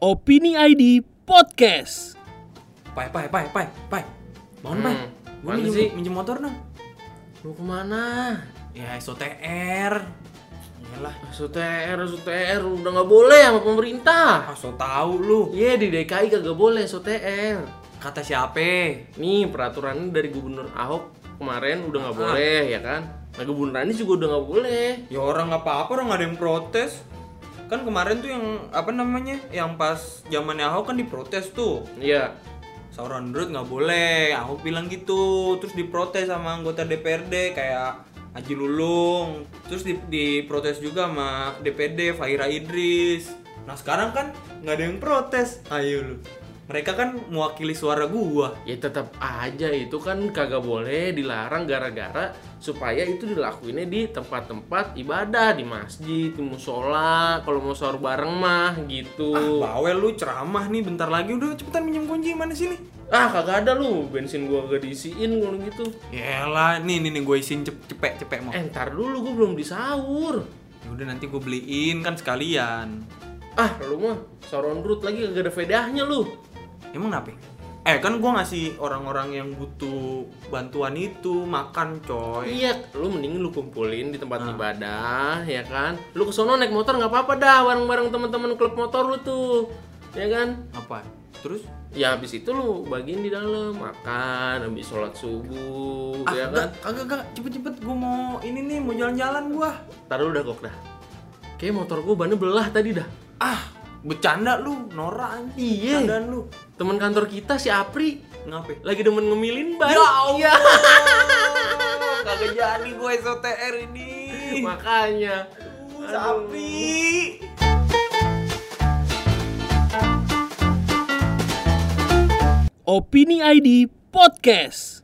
Opini ID Podcast. Pai, pai, pai, pai, pai. Bangun, pai. Hmm, Gue mana minjem, sih? minjem motor dong. Lu kemana? Ya, SOTR. Yalah, SUTR, SUTR udah nggak boleh sama pemerintah. ah so tau lu. Iya di DKI kagak boleh SUTR. Kata siapa? Nih peraturannya dari Gubernur Ahok kemarin udah nggak Ah. boleh ya kan? Nah Gubernur Anies juga udah nggak boleh. Ya orang nggak apa-apa, orang nggak ada yang protes. Kan kemarin tuh yang apa namanya? Yang pas zamannya Ahok kan diprotes tuh. Iya. Sauron Brut nggak boleh, Ahok bilang gitu. Terus diprotes sama anggota DPRD kayak Haji Lulung. Terus di- diprotes juga sama DPD Faira Idris. Nah sekarang kan nggak ada yang protes. Ayo lu. Mereka kan mewakili suara gua. Ya tetap aja itu kan kagak boleh dilarang gara-gara supaya itu dilakuinnya di tempat-tempat ibadah di masjid, di musola, kalau mau sahur bareng mah gitu. Ah, Bawel lu ceramah nih bentar lagi udah cepetan minjem kunci mana sini? Ah, kagak ada lu bensin gua kagak diisiin kalau gitu. Yalah, nih nih nih gue isin cep cepet cepet mau. Eh ntar dulu gua belum disaur. Ya udah nanti gue beliin kan sekalian. Ah lu mah sauron root lagi kagak ada fedahnya lu. Emang kenapa? Eh kan gue ngasih orang-orang yang butuh bantuan itu makan coy. Iya, lu mending lu kumpulin di tempat ibadah, ya kan? Lu ke sono naik motor nggak apa-apa dah, bareng-bareng teman-teman klub motor lu tuh. Ya kan? Apa? Terus? Ya habis itu lu bagiin di dalam, makan, habis sholat subuh, Ah, ya enggak, kan? kagak, kagak, cepet-cepet gue mau ini nih, mau jalan-jalan gue Taruh udah kok kan? dah. Kayak motor gua bannya belah tadi dah. Ah, bercanda lu, Nora anjing Iya. Bercandaan lu Teman kantor kita si Apri Ngapain? lagi demen ngemilin ban. Iya Kagak jadi gue SOTR ini Makanya. Uh, Aduh. Sapi Opini ID Podcast.